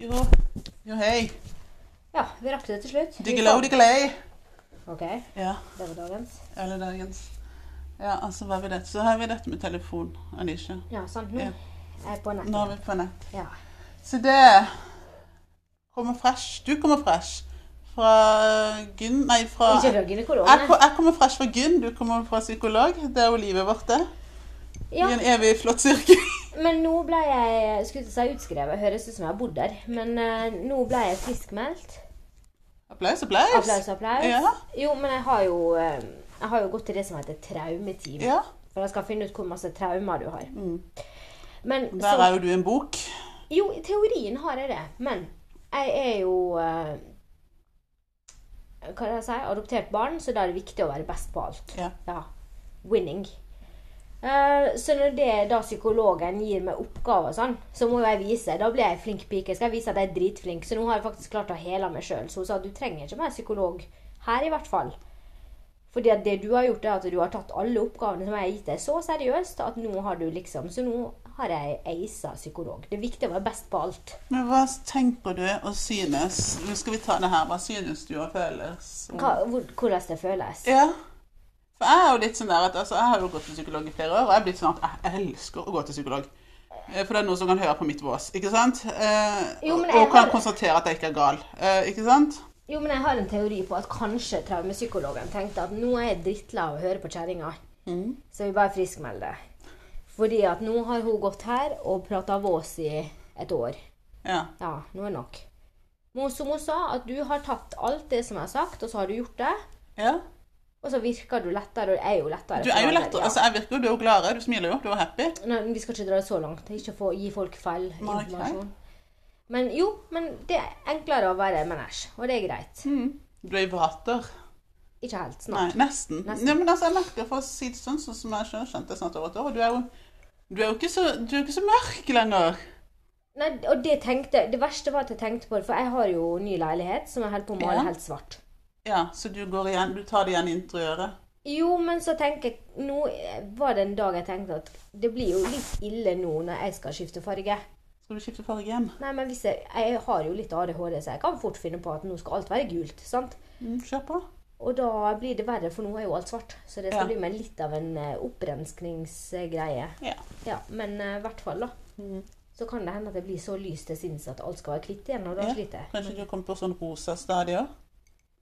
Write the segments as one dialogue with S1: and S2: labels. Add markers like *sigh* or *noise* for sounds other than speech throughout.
S1: Jo, jo hei.
S2: Ja, vi rakk det til slutt. Vi
S1: Diggelow, diggelei.
S2: kom- Ok,
S1: Ja,
S2: det var dagens.
S1: eller dagens. Ja, altså hva er dette? Så har vi dette med telefon, Anisha.
S2: Ja, sant. Nå
S1: Ja.
S2: er jeg på nettet.
S1: Nå er vi på nett.
S2: Ja.
S1: Så det kommer fresh. Du kommer fresh fra eh, gyn... Nei, fra
S2: Ikke
S1: jeg,
S2: fra gynekologen.
S1: ko- jeg kommer fresh fra gyn, du kommer fra psykolog. Det er jo livet vårt, det.
S2: Ja,
S1: I en evig flott sirkel. *laughs*
S2: men nå ble jeg skulle til å si utskrevet. Høres ut som jeg har bodd der. Men eh, nå ble jeg friskmeldt.
S1: Applaus, applaus.
S2: Applaus, applaus.
S1: Ja.
S2: Jo, men jeg har jo, eh, jeg har jo gått til det som heter traumeteam.
S1: Ja.
S2: For jeg skal finne ut hvor masse traumer du har.
S1: Mm.
S2: Men
S1: Der
S2: så
S1: er jo du en bok.
S2: Jo, i teorien har jeg det. Men jeg er jo eh, Hva er det jeg sier? Adoptert barn, så da er det viktig å være best på alt.
S1: Ja.
S2: Ja. Winning. Eh, så når det da psykologen gir meg oppgaver og sånn, så må jo jeg vise. Da blir jeg flink pike. Skal jeg vise at jeg er dritflink. Så nå har jeg faktisk klart å hele meg sjøl. Så hun sa du trenger ikke mer psykolog her, i hvert fall. Fordi at det du har gjort, er at du har tatt alle oppgavene som jeg har gitt deg, så seriøst at nå har du liksom Så nå har jeg eisa psykolog. Det er viktig å være best på alt.
S1: Men hva tenker du og synes Nå skal vi ta det her. Hva synes du og føles?
S2: Hva, hvor, hvordan det føles.
S1: Ja. For jeg er jo litt sånn der at altså, jeg har jo gått til psykolog i flere år, og jeg er blitt sånn at jeg elsker å gå til psykolog. Eh, For det er noen som kan høre på mitt vås, ikke sant? Eh,
S2: Jo, men
S1: og-
S2: jeg
S1: og kan
S2: har-
S1: konstatere at jeg ikke er gal, eh, ikke sant?
S2: Jo, men jeg har en teori på at kanskje traumepsykologen tenkte at nå er jeg drittlei av å høre på kjerringa,
S1: Mm.
S2: så vi bare friskmelder. Fordi at nå har hun gått her og prata vås i et år.
S1: Ja.
S2: Ja, nå er det nok. Men som hun sa, at du har tatt alt det som jeg har sagt, og så har du gjort det.
S1: ja.
S2: Og så virker du lettere, og jeg er jo lettere.
S1: Du er jo
S2: for
S1: lettere.
S2: dagen,
S1: Altså, jeg virker jo, du er jo gladere, du smiler jo, du er happy.
S2: Nei, men vi skal ikke dra det så langt. Ikke få, gi folk feil
S1: Nei, ok.
S2: informasjon. Men jo, men det er enklere å være menneske, og det er greit.
S1: Du er i vater.
S2: Ikke helt
S1: Mm. Nei,
S2: snart.
S1: nesten.
S2: Nesten.
S1: Nei, men altså, jeg merker for å si det sånn, sånn som jeg skjønner, skjønte det snart over et år, og du er jo, du er jo ikke, så, du er jo ikke så mørk lenger.
S2: Nei, og det tenkte Det verste var at jeg tenkte på det, for jeg har jo ny leilighet som jeg holder på å male
S1: Ja.
S2: helt svart.
S1: Ja, så du går igjen, du tar det igjen i interiøret.
S2: Jo, men så tenker jeg Nå var det en dag jeg tenkte at det blir jo litt ille nå når jeg skal skifte farge.
S1: Skal du skifte farge igjen?
S2: Nei, men hvis jeg, jeg har jo litt ADHD, så jeg kan fort finne på at nå skal alt være gult. sant?
S1: Mm, kjør på.
S2: Og da blir det verre, for nå er jo alt svart. Så det
S1: Ja.
S2: skal bli meg litt av en eh, opprenskningsgreie.
S1: Ja.
S2: Ja, men eh, i hvert fall, da.
S1: Mm.
S2: Så kan det hende at det blir så lyst til sinns at alt skal være hvitt igjen, og da
S1: Ja,
S2: sliter jeg.
S1: Kanskje du kommer på sånn rosa stadie òg?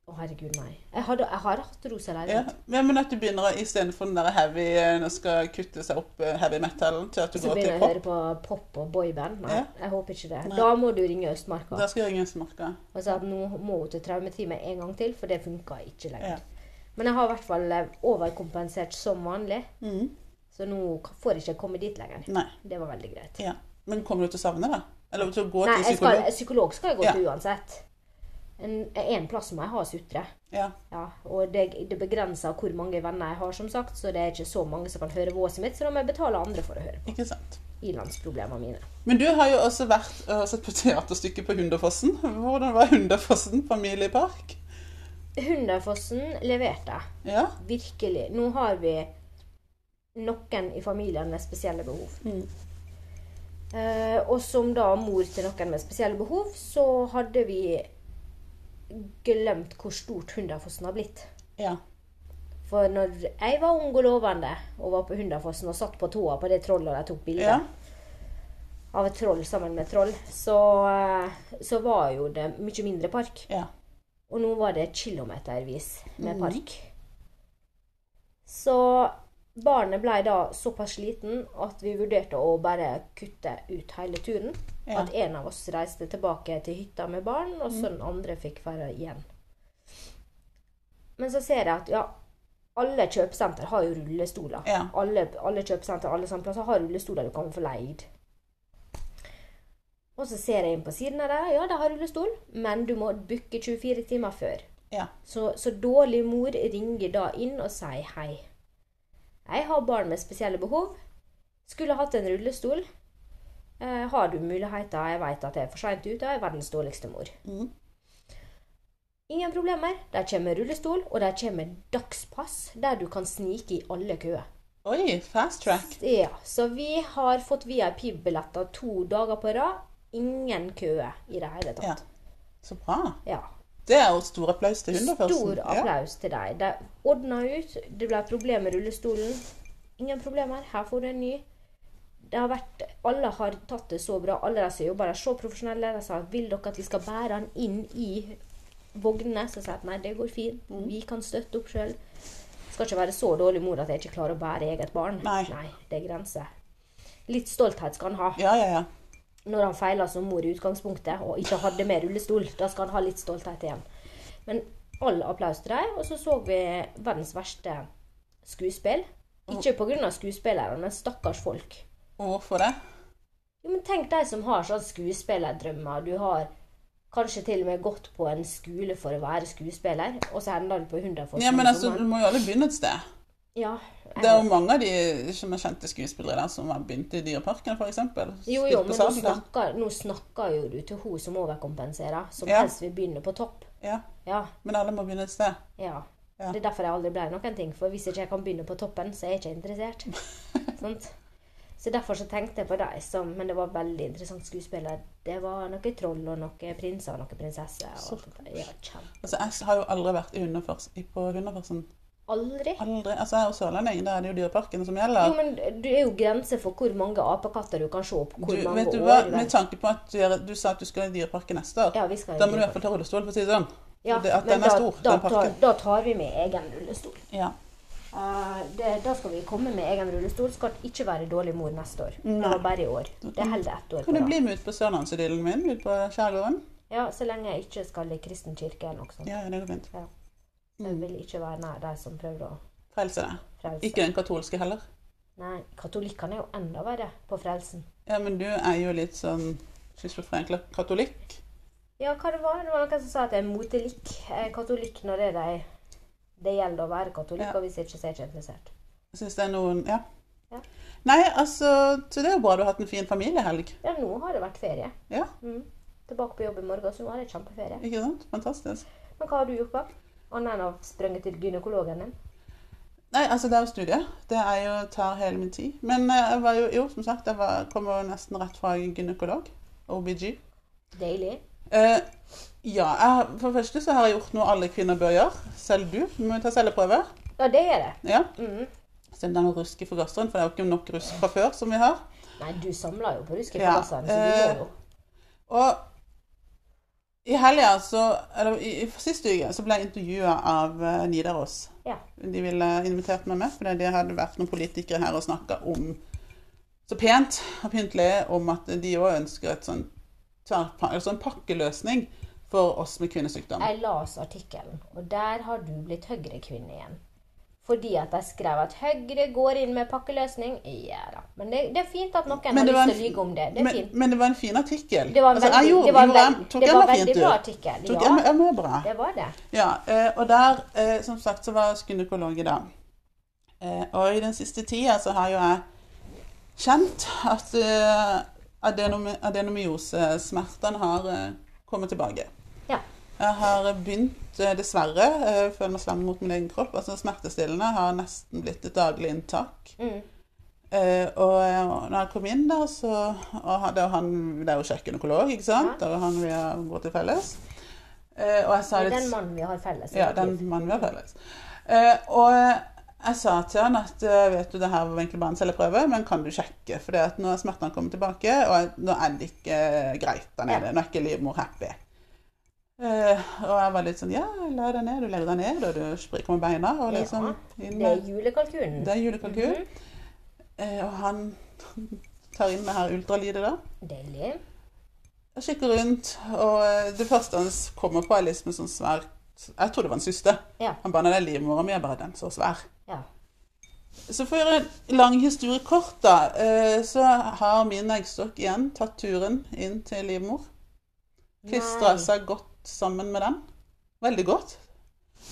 S2: Å, herregud, nei. Jeg, hadde, jeg har hatt rosa
S1: Ja.
S2: leilighet.
S1: Ja, men at du begynner å- istedenfor den der heavy eh, Nå skal kutte seg opp eh, heavy metal til at du
S2: Så
S1: går til
S2: begynner jeg å
S1: pop.
S2: høre på pop og boyband. Nei,
S1: Ja.
S2: jeg håper ikke det.
S1: Nei.
S2: Da må du ringe Østmarka
S1: Da skal jeg gjøre Jønsmarka.
S2: og si at nå må hun til traumeteamet en gang til, for det funka ikke lenger.
S1: Ja.
S2: Men jeg har i hvert fall eh, overkompensert som vanlig,
S1: Mhm.
S2: så nå k- får jeg ikke komme dit lenger.
S1: Nei.
S2: Det var veldig greit.
S1: Ja. Men kommer du til å savne det? Eller til å gå
S2: Nei,
S1: til
S2: jeg skal,
S1: psykolog?
S2: psykolog skal jeg gå
S1: Ja.
S2: til uansett. En, en plass må jeg ha sutre.
S1: Ja.
S2: Ja, og det, det begrenser hvor mange venner jeg har, som sagt, så det er ikke så mange som kan høre våset mitt, så da må jeg betale andre for å høre på
S1: Ikke sant.
S2: ilandsproblemene mine.
S1: Men du har jo også vært eh, og sett på teaterstykket på Hunderfossen. Hvordan var Hunderfossen familiepark?
S2: Hunderfossen leverte.
S1: Ja.
S2: Virkelig. Nå har vi noen i familien med spesielle behov.
S1: Mm.
S2: Eh, og som da mor til noen med spesielle behov, så hadde vi glemt hvor stort Hunderfossen har blitt.
S1: ja.
S2: For når jeg var ung og lovende og var på Hundafossen og satt på tåa på det trollet og jeg tok bilde
S1: Ja.
S2: av et troll sammen med et troll, så, eh, så var jo det mye mindre park.
S1: Ja.
S2: Og nå var det kilometervis
S1: Mm.
S2: med park. Så barnet ble da såpass sliten at vi vurderte å bare kutte ut hele turen.
S1: Ja. Mm.
S2: At en av oss reiste tilbake til hytta med barn, og så den andre fikk være igjen. Men så ser jeg at ja, alle kjøpesenter har jo rullestoler.
S1: Ja.
S2: Alle, alle kjøpesenter alle sånne plasser har rullestoler du kan få leid. Og så ser jeg inn på siden av deg, ja, de har rullestol, men du må booke 24 timer før.
S1: ja.
S2: Så, så dårlig mor ringer da inn og sier hei. Jeg har barn med spesielle behov. Skulle hatt en rullestol. Eh, har du muligheter? Jeg veit at jeg er for seint ute. Jeg er verdens dårligste mor.
S1: Mhm.
S2: Ingen problemer. Der kommer rullestol, og der kommer dagspass, der du kan snike i alle køer.
S1: Oi, fast track.
S2: Ja, så vi har fått VIP-billetter to dager på rad. ingen køer i det hele
S1: Ja.
S2: tatt.
S1: Så bra.
S2: Ja.
S1: Det er jo stor applaus til hun, da, først.
S2: Stor applaus til deg. De ordna ut. Det ble et problem med rullestolen. Ingen problemer. Her får du en ny. Det har vært, alle har tatt det så bra. Alle de som jobber der, er så profesjonelle. De sa vil dere at vi skal bære han inn i vognene. Så sa jeg nei, det går fint.
S1: Mm.
S2: Vi kan støtte opp sjøl. Skal ikke være så dårlig mor at jeg ikke klarer å bære eget barn.
S1: Nei.
S2: det er grenser. Litt stolthet skal han ha.
S1: Ja, ja, ja.
S2: Når han feila som mor i utgangspunktet og ikke hadde med rullestol, da skal han ha litt stolthet igjen. Men all applaus til dem. Og så så vi verdens verste skuespill. Ikke pga. skuespillerne, men stakkars folk.
S1: Og hvorfor det?
S2: Jo, men Tenk de som har sånn skuespillerdrømmer. Du har kanskje til og med gått på en skole for å være skuespiller, og så ender du på Hunderfoss.
S1: Ja, men
S2: som
S1: altså, Du
S2: sommer.
S1: må jo alle begynne et sted.
S2: ja,
S1: Det er jo mange av de som er kjente skuespillere der, som har begynt i Dyreparken, f.eks.
S2: Jo, jo, men nå snakker, nå snakker jo du til hun som overkompenserer, som
S1: Ja.
S2: helst vil begynne på topp.
S1: Ja,
S2: Ja,
S1: men alle må begynne et sted.
S2: Ja.
S1: Ja.
S2: Det er derfor jeg aldri ble noen ting. For hvis ikke jeg kan begynne på toppen, så er jeg
S1: *laughs*
S2: ikke interessert. Sant? Så derfor så tenkte jeg på deg som Men det var veldig interessant skuespiller. Det var noen troll og noen prinser og noen prinsesser. Og alt dette. ja, kjempe.
S1: Altså, Jeg har jo aldri vært i Hunderfors, i- på Hunderforsen.
S2: Aldri.
S1: Aldri. Altså, Jeg er jo sørlending, der er det jo Dyreparken som
S2: Jo,
S1: gjelder.
S2: men du er jo grense for hvor mange apekatter du kan se opp
S1: Du,
S2: hvor mange
S1: vet du
S2: år
S1: hva,
S2: i verden.
S1: Med tanke på at du, gjør- du sa at du skal i Dyreparken neste år,
S2: Ja, vi skal i
S1: da må du i
S2: Dyreparken.
S1: hvert fall ta rullestol, for å si det sånn.
S2: Ja,
S1: det, at
S2: men
S1: den er
S2: da-
S1: stor,
S2: da,
S1: den parken.
S2: tar, da tar vi med egen rullestol.
S1: Ja.
S2: Eh, det, da skal vi komme med egen rullestol. Skal ikke være dårlig mor neste år. Det var bare i år. Det holder ett år. på
S1: Kan du
S2: rad.
S1: bli med ut på sørlandsidyllen min, ut på skjærgården?
S2: Ja, så lenge jeg ikke skal i kristen kirke eller noe sånt.
S1: Ja, ja, det går fint.
S2: Ja. Jeg vil ikke være nær de som prøvde å
S1: Frelse deg.
S2: frelse.
S1: Ikke den katolske heller.
S2: Nei, katolikkene er jo enda verre på frelsen.
S1: Ja, men du er jo litt sånn schizofren katolikk.
S2: Ja, hva det var? Det var noen som sa at jeg er motelikk. Jeg er katolikk når det, er de, det gjelder å være katolikk,
S1: Ja.
S2: og hvis ikke så er jeg ikke interessert.
S1: Jeg synes det er noen Ja.
S2: Ja.
S1: Nei, altså Så det er jo bra du har hatt en fin familiehelg.
S2: Ja, nå har det vært ferie.
S1: Ja,
S2: Mm. Tilbake på jobb i morgen, så nå har jeg kjempeferie.
S1: ikke sant? Fantastisk.
S2: Men hva har du gjort, da? Annet enn å sprenge til gynekologen din?
S1: Nei, altså det er jo studiet. Det er jo, tar hele min tid. Men eh, jeg var jo, jo som sagt, jeg var, kom jo nesten rett fra gynekolog. OBG.
S2: Deilig.
S1: Eh, ja, jeg, for det første så har jeg gjort noe alle kvinner bør gjøre. Selv du. Du må jo ta celleprøver.
S2: Ja, det er det.
S1: Ja.
S2: Mm.
S1: Selv om det er noe rusk i forgasseren, for det er jo ikke nok rusk fra før som vi har.
S2: Nei, du samler jo på
S1: Ja,
S2: ruskefagassene, så du
S1: eh,
S2: må jo.
S1: Og i helga, så Eller i, i sist uke så ble jeg intervjua av eh, Nidaros.
S2: Ja.
S1: De ville invitert meg med, fordi det hadde vært noen politikere her og snakka om så pent og pyntelig om at de òg ønsker et sånn tverrpa- altså en pakkeløsning for oss med kvinnesykdom.
S2: Jeg las artikkelen, og der har du blitt Høyre-kvinne igjen. Fordi at de skrev at Høyre går inn med pakkeløsning. Ja da. Men det, det er fint at noen
S1: Men
S2: har
S1: det var
S2: lyst til å
S1: en-
S2: lyge om det. Det er
S1: Men,
S2: fint.
S1: men det var en fin artikkel.
S2: Det var en
S1: Altså, jeg
S2: veldig,
S1: gjorde-
S2: det var en
S1: gjorde en-
S2: veld-
S1: tok
S2: det
S1: en
S2: var
S1: var
S2: veldig
S1: fint,
S2: bra
S1: du.
S2: artikkel.
S1: Tok
S2: Ja,
S1: en, en var bra.
S2: det var det.
S1: Ja, eh, og der, eh, som sagt, så var jeg gynekolog i dag. Eh, Og i den siste tida så har jo jeg kjent at eh, adenomy- adenomyosesmertene har eh, kommet tilbake.
S2: Ja.
S1: Jeg har begynt, eh, dessverre, eh, føler meg slem mot min egen kropp. Altså smertestillende har nesten blitt et daglig inntak.
S2: Mm.
S1: Eh, og eh, når jeg kom inn der, så og han, det, er jo han, det er jo kjøkkenøkolog, ikke sant? Det er jo han vi har gått til felles. Eh, og jeg sa
S2: Det er
S1: litt
S2: den mannen vi har felles.
S1: ja, den mannen vi har felles. Eh, og jeg sa til han at eh, vet du, det her var egentlig bare en celleprøve, men kan du sjekke? For at nå er smertene kommet tilbake, og jeg- nå er det ikke eh, greit der nede. Nå er ikke livmor happy. Eh, og jeg var litt sånn Ja, la deg ned. Du legger deg ned, og du spriker med beina. Og
S2: Ja,
S1: liksom, inn
S2: Det er Mhm.
S1: med,
S2: julekalkunen.
S1: det er julekalkun. eh, og han *laughs* tar inn det her ultralydet, da.
S2: Deilig.
S1: Jeg kikker rundt, og eh, det første han s- kommer på, er liksom en sånn svær Jeg tror det var en syste.
S2: Ja.
S1: Han bare Nei, det er livmora mi. Jeg bare Den så svær.
S2: ja.
S1: Så for å gjøre en lang historie kort, da, eh, så har min eggstokk igjen tatt turen inn til livmor. Klistra
S2: Nei.
S1: seg godt sammen med den. Veldig godt.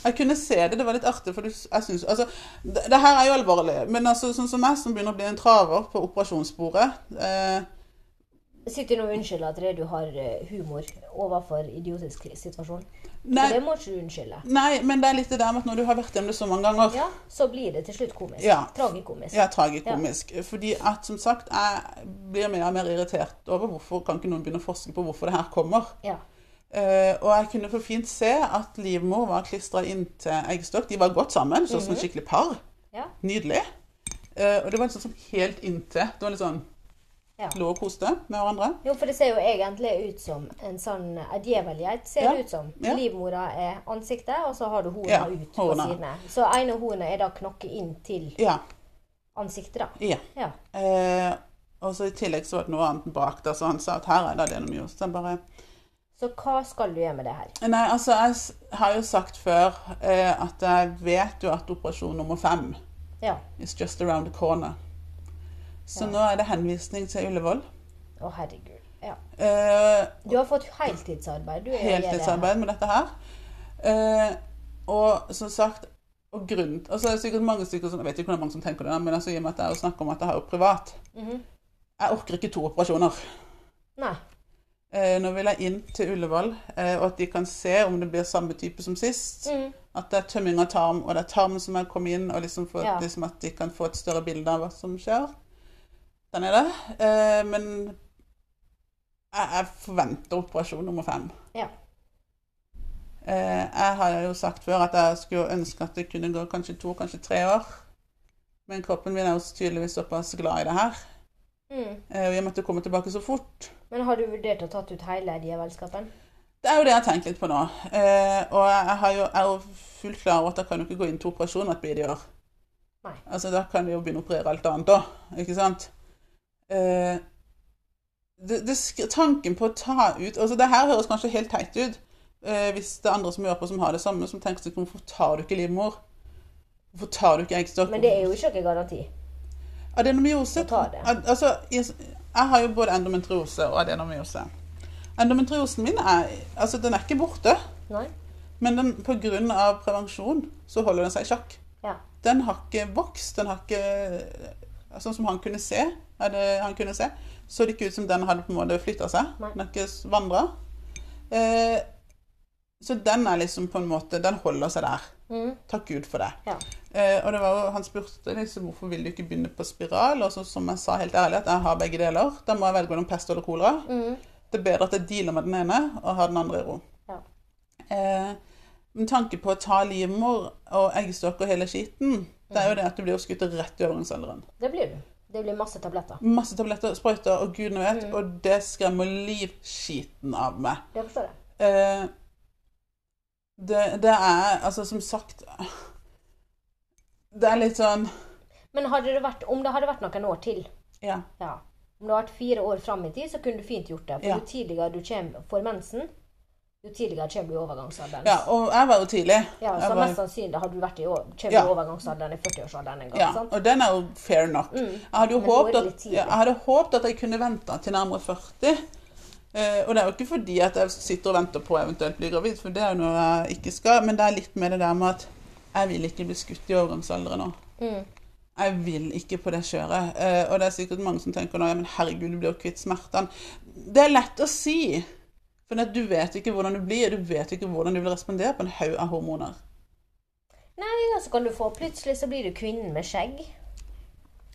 S1: Jeg kunne se det, det var litt artig, for du, jeg synes, altså, det, det her er jo alvorlig. Men altså, sånn som meg, som begynner å bli en traver på operasjonsbordet eh,
S2: Sitter nå og unnskylder at det du har eh, humor overfor idiotisk situasjon.
S1: Nei.
S2: Så det må ikke du unnskylde.
S1: Nei, men det er litt det der med at når du har vært gjennom det så mange ganger
S2: Ja, så blir det til slutt komisk.
S1: Ja.
S2: Tragikomisk.
S1: Ja, tragikomisk. Fordi at, som sagt, jeg blir mer og mer irritert over hvorfor kan ikke noen begynne å forske på hvorfor det her kommer.
S2: Ja.
S1: Eh, og jeg kunne for fint se at livmor var klistra inntil eggstokk. De var godt sammen, sånn som et skikkelig par.
S2: Ja.
S1: Nydelig. Eh, og det var liksom sånn helt inntil. Det var litt sånn
S2: Ja.
S1: Lå og koste med hverandre.
S2: Jo, for det ser jo egentlig ut som en sånn eh, djevelgeit. Ser
S1: Ja,
S2: det ut som.
S1: ja.
S2: Livmora er ansiktet, og så har du horna
S1: Ja,
S2: ut
S1: horna.
S2: på sidene. Så ene hornet er da knokket inn til
S1: Ja.
S2: ansiktet, da.
S1: ja.
S2: Ja.
S1: Eh, og så i tillegg så var det noe annet bak der, så han sa at her er det adenomyose. Så jeg bare
S2: Så hva skal du gjøre med det her?
S1: Nei, altså, jeg s- har jo sagt før eh, at jeg vet jo at operasjon nummer fem
S2: Ja.
S1: is just around the corner. Så
S2: Ja.
S1: nå er det henvisning til Ullevål.
S2: Å, herregud. Ja.
S1: Eh,
S2: Du har fått heltidsarbeid. Du er
S1: heltidsarbeid med dette her. Eh, og som sagt og grunn, altså det er sikkert mange stykker som, Jeg vet ikke hvor mange som tenker det, men altså, i og med at det er jo snakk om at jeg har jo privat
S2: Mhm.
S1: Jeg orker ikke to operasjoner.
S2: Nei.
S1: Eh, nå vil jeg inn til Ullevål, eh, og at de kan se om det blir samme type som sist.
S2: Mhm.
S1: At det er tømming av tarm, og det er tarmen som er kommet inn, og liksom, for,
S2: Ja.
S1: liksom at de kan få et større bilde av hva som skjer. Sånn er det. Eh, men jeg, jeg forventer operasjon nummer fem.
S2: Ja.
S1: Eh, jeg har jo sagt før at jeg skulle ønske at det kunne gå kanskje to, kanskje tre år. Men kroppen min er jo tydeligvis såpass glad i det her.
S2: Mhm.
S1: Eh, og jeg måtte komme tilbake så fort.
S2: Men har du vurdert å tatt ut hele djevelskapen?
S1: Det er jo det jeg har tenkt litt på nå. Eh, og jeg har jo, er jo fullt klar over at jeg kan jo ikke gå inn to operasjoner et bidige år.
S2: Nei.
S1: Altså, da kan vi jo begynne å operere alt annet da, ikke sant? Eh, det, det, sk- tanken på å ta ut, altså det her høres kanskje helt teit ut, eh, hvis det er andre som hører på som har det samme, som tenker seg, hvorfor tar du ikke livmor? Hvorfor tar du ikke eggstokk?
S2: Men det er jo ikke noen garanti.
S1: Adenomyose
S2: Og tar det.
S1: ad, altså, jeg, jeg har jo både endometriose og adenomyose. Endometriosen min er, altså, den er ikke borte,
S2: Nei?
S1: men den, på grunn av prevensjon så holder den seg i sjakk.
S2: Ja.
S1: Den har ikke vokst, den har ikke Sånn som han kunne se, hadde, han kunne se så det ikke ut som den hadde på en måte flytta seg.
S2: Nei.
S1: Den har ikke vandra. Eh, så den er liksom på en måte Den holder seg der.
S2: Mhm.
S1: Takk Gud for det.
S2: Ja.
S1: Eh, og det var jo, Han spurte liksom, hvorfor vil du ikke begynne på spiral. Og så, som jeg sa helt ærlig, at jeg har begge deler. Da må jeg velge mellom pest eller kolera.
S2: Mhm.
S1: Det er bedre at jeg dealer med den ene og har den andre i ro.
S2: Ja.
S1: Eh, med tanke på å ta livmor og eggstokk og hele skiten, det er jo det at du blir jo skutt rett i overgangsalderen.
S2: Det blir du. Det blir masse tabletter.
S1: Masse tabletter, sprøyter og gudene vet,
S2: Mm.
S1: og det skremmer livskiten av meg.
S2: Det forstår jeg.
S1: Eh, det, det er altså som sagt Det er litt sånn
S2: Men hadde det vært, om det hadde vært noen år til
S1: Ja.
S2: ja. Om det hadde vært fire år fram i tid, så kunne du fint gjort det. For
S1: Ja.
S2: jo tidligere du kommer for mensen, jo tidligere kommer du i overgangsalderen.
S1: ja og jeg var jo tidlig.
S2: Ja,
S1: Jeg
S2: så
S1: var,
S2: mest sannsynlig hadde du vært i, år- kommer
S1: Ja.
S2: i overgangsalderen i 40-årsalderen en gang.
S1: ja,
S2: sant? Mm.
S1: og den er jo fair nok. Jeg, hadde jo
S2: Men nå er
S1: håpet
S2: det
S1: at,
S2: litt tidlig.
S1: ja, jeg hadde håpet at jeg kunne vente til nærmere 40. Eh, og det er jo ikke fordi at jeg sitter og venter på å eventuelt bli gravid, for det er jo noe jeg ikke skal. Men det er litt med det der med at jeg vil ikke bli skutt i overgangsalderen nå.
S2: Mm.
S1: Jeg vil ikke på det kjøret. Eh, og det er sikkert mange som tenker nå, ja, men herregud, du blir jo kvitt smertene. Det er lett å si. For at du vet ikke hvordan du blir, du vet ikke hvordan du vil respondere på en haug av hormoner.
S2: Nei, ja, så kan du få Plutselig så blir du kvinnen med skjegg.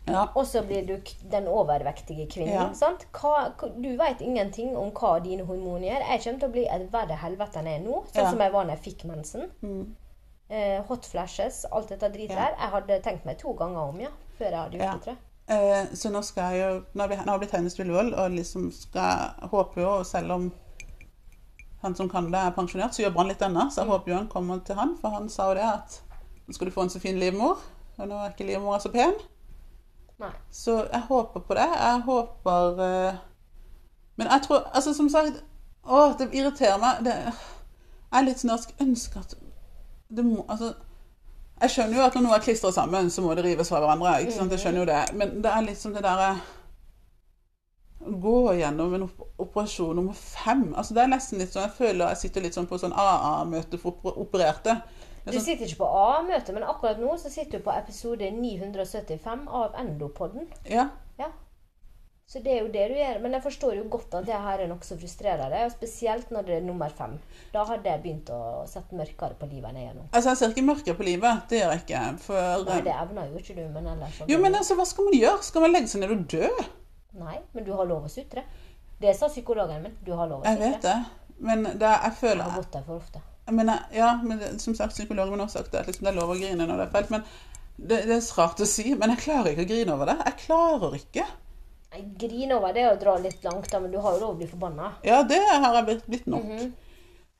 S1: Ja.
S2: Og så blir du k- den overvektige kvinnen.
S1: Ja.
S2: sant? Hva, hva- du vet ingenting om hva dine hormoner gjør. Jeg kommer til å bli et verre helvete enn jeg er nå, sånn
S1: Ja. Mm.
S2: som jeg var da jeg fikk mensen. Eh, hot flashes, alt dette dritet
S1: Ja.
S2: der. Jeg hadde tenkt meg to ganger om, ja. Før jeg hadde gjort
S1: Ja.
S2: det, tror jeg.
S1: Eh, så nå skal jeg jo Nå har vi- nå har jeg blitt hennes Ullevål, og liksom skal håper jo, og selv om han som kan det, er pensjonert, så jobber han litt ennå. Så jeg håper jo han kommer til han, for han sa jo det at Nå skal du få en så fin livmor, og nå er ikke livmora så pen.
S2: Nei.
S1: Så jeg håper på det. Jeg håper eh, Men jeg tror Altså, som sagt Å, det irriterer meg. Det, jeg er litt sånn at jeg skulle ønske at det må Altså Jeg skjønner jo at når noe er klistra sammen, så må det rives fra hverandre. ikke sant? Jeg skjønner jo det. Men det er litt som det derre å Gå gjennom en op operasjon nummer fem altså Det er nesten litt sånn Jeg føler jeg sitter litt sånn på sånn AA-møte for oper- opererte. Det
S2: Du
S1: er sånn,
S2: sitter ikke på A-møte, men akkurat
S1: sånn,
S2: nå så sitter du på episode 975 av Endopodden.
S1: ja,
S2: Ja. Så det er jo det du gjør. Men jeg forstår jo godt at det her er nokså frustrerende. og Spesielt når det er nummer fem. Da hadde jeg begynt å sette mørkere på livet enn jeg gjør nå.
S1: Altså, jeg ser ikke mørket på livet. Det gjør jeg ikke. For eh,
S2: Nei, det evner jo ikke du, men ellers så-
S1: Jo, men altså, hva skal man gjøre? Skal man legge seg ned og dø?
S2: Nei, men du har lov å sutre. Det sa psykologen min. Du har lov å
S1: Jeg
S2: sutre.
S1: vet det. Men det, jeg
S2: Jeg har
S1: føler
S2: gått der for ofte.
S1: jeg mener, Ja, men det, som sagt, psykologen min har også sagt det, at liksom, det er lov å grine når det er fælt. Men det, det er så rart å si. Men jeg klarer ikke å grine over det. Jeg klarer ikke.
S2: Nei, Grine over det er å dra litt langt, da, men du har jo lov å bli forbanna.
S1: Ja, det har jeg blitt, blitt nok.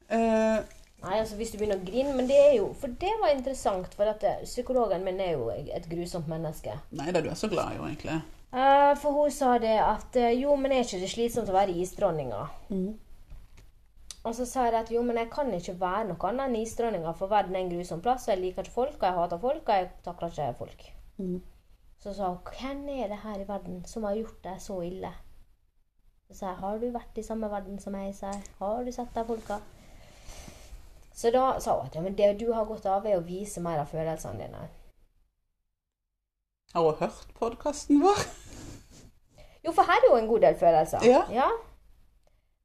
S1: Eh,
S2: Nei, altså hvis du begynner å grine, men det er jo For det var interessant, for at eh, psykologen min er jo et grusomt menneske.
S1: nei da, du er så glad, jo, egentlig.
S2: Eh, for hun sa det at eh, jo, men er ikke det slitsomt å være isdronninga? Og så sa jeg at jo, men jeg kan ikke være noe annet enn isdronninga, for verden er en grusom plass, og jeg liker ikke folk, og jeg hater folk, og jeg takler ikke folk.
S1: Mhm.
S2: Så sa hun hvem er det her i verden som har gjort deg så ille? Så sa jeg har du vært i samme verden som jeg, sa jeg. Har du sett de folka? Så da sa hun at ja, men det du har godt av, er å vise mer av følelsene dine.
S1: Har hun hørt podkasten vår?
S2: Jo, for her er jo en god del følelser.
S1: Ja.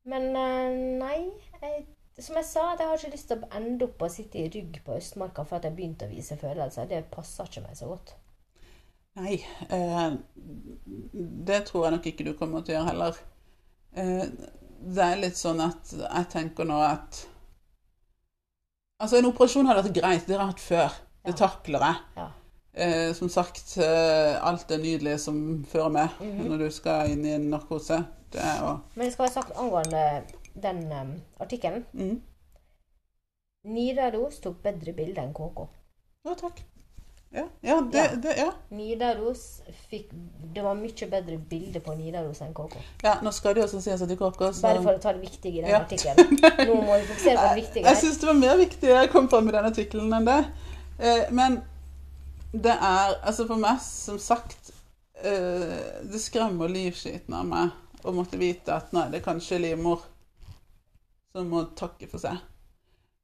S2: Men eh, nei jeg, Som jeg sa, at jeg har ikke lyst til å ende opp og sitte i rygg på Østmarka for at jeg begynte å vise følelser. Det passer ikke meg så godt.
S1: Nei, eh, det tror jeg nok ikke du kommer til å gjøre heller. Eh, det er litt sånn at jeg tenker nå at Altså, en operasjon hadde vært greit, det har jeg hatt før. Det
S2: Ja.
S1: takler jeg.
S2: Ja.
S1: Eh, som sagt, eh, alt det nydelige som fører med
S2: Mhm.
S1: når du skal inn i en narkose. Det er jo
S2: Men det skal være sagt angående den um, artikkelen
S1: mm.
S2: Nidaros tok bedre bilde enn KK.
S1: Ja, takk. Ja, ja det,
S2: Ja.
S1: det Ja.
S2: Nidaros fikk Det var mye bedre bilde på Nidaros enn KK.
S1: Ja, nå skal det jo også sies at de korker så...
S2: Bare for å ta det viktige i den
S1: Ja.
S2: artikkelen. Nå må vi fokusere på det viktige.
S1: *laughs* Jeg
S2: her.
S1: syns det var mer viktig jeg kom fram i den artikkelen enn det. Eh, Men det er Altså, for meg, som sagt eh, Det skremmer livskiten av meg å måtte vite at nei, det er kanskje livmor som må takke for seg.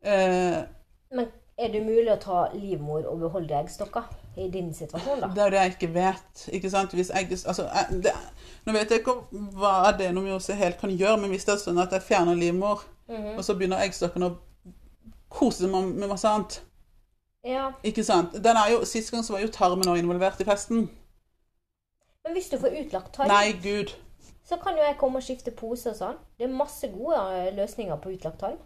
S1: Eh,
S2: Men er det mulig å ta livmor og beholde eggstokker i din situasjon, da?
S1: Det er jo det jeg ikke vet. ikke sant? Hvis jeg, altså, jeg, det, nå vet jeg ikke om- hva adenomyose helt kan gjøre, men hvis det er sånn at jeg fjerner livmor,
S2: Mhm.
S1: og så begynner eggstokkene å kose seg med med masse annet
S2: Ja.
S1: Ikke sant? Den er jo, Sist gang så var jo tarmen også involvert i festen.
S2: Men hvis du får utlagt tarm,
S1: Nei, gud.
S2: så kan jo jeg komme og skifte pose og sånn. Det er masse gode eh, løsninger på utlagt tarm.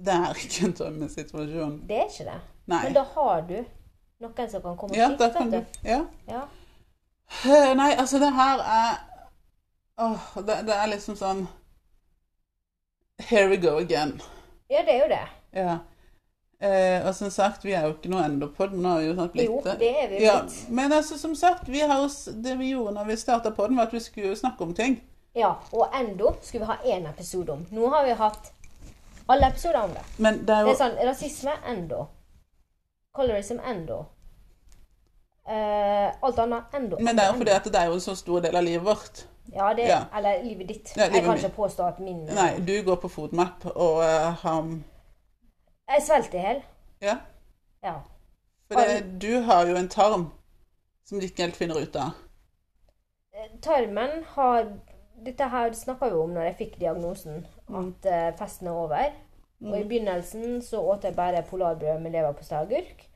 S1: Det er ikke en drømmesituasjon.
S2: Det er ikke det.
S1: Nei.
S2: Men da har du noen som kan komme og
S1: Ja, da
S2: skifte.
S1: kan du
S2: vet
S1: Ja.
S2: du. Ja.
S1: Eh, Nei, altså, det her er Åh, det, det er liksom sånn Here we go again.
S2: ja, det er jo det.
S1: Ja. Eh, og som sagt, vi er jo ikke noe endopod, men nå har vi jo snart blitt
S2: Jo,
S1: det.
S2: det er vi
S1: Ja,
S2: blitt.
S1: men altså, som sagt, vi har jo, s- det vi gjorde når vi starta poden, var at vi skulle jo snakke om ting.
S2: Ja, og endo skulle vi ha én episode om. Nå har vi hatt alle episoder om det.
S1: Men det er jo
S2: Det er sånn rasisme endo. Colorism endo. Eh, alt annet endo.
S1: men det er jo fordi at det er jo en så stor del av livet vårt.
S2: Ja, det
S1: Ja.
S2: Eller livet ditt.
S1: Ja, livet
S2: jeg kan
S1: mitt.
S2: ikke påstå at min
S1: Nei, du går på Foodmap og eh, ham
S2: Jeg svelger i hjel.
S1: Ja.
S2: Ja.
S1: For det, du har jo en tarm som du ikke helt finner ut av.
S2: Tarmen har Dette her snakka vi om når jeg fikk diagnosen, at eh, festen er over. Og i begynnelsen så åt jeg bare polarbrød med leverpostei og agurk.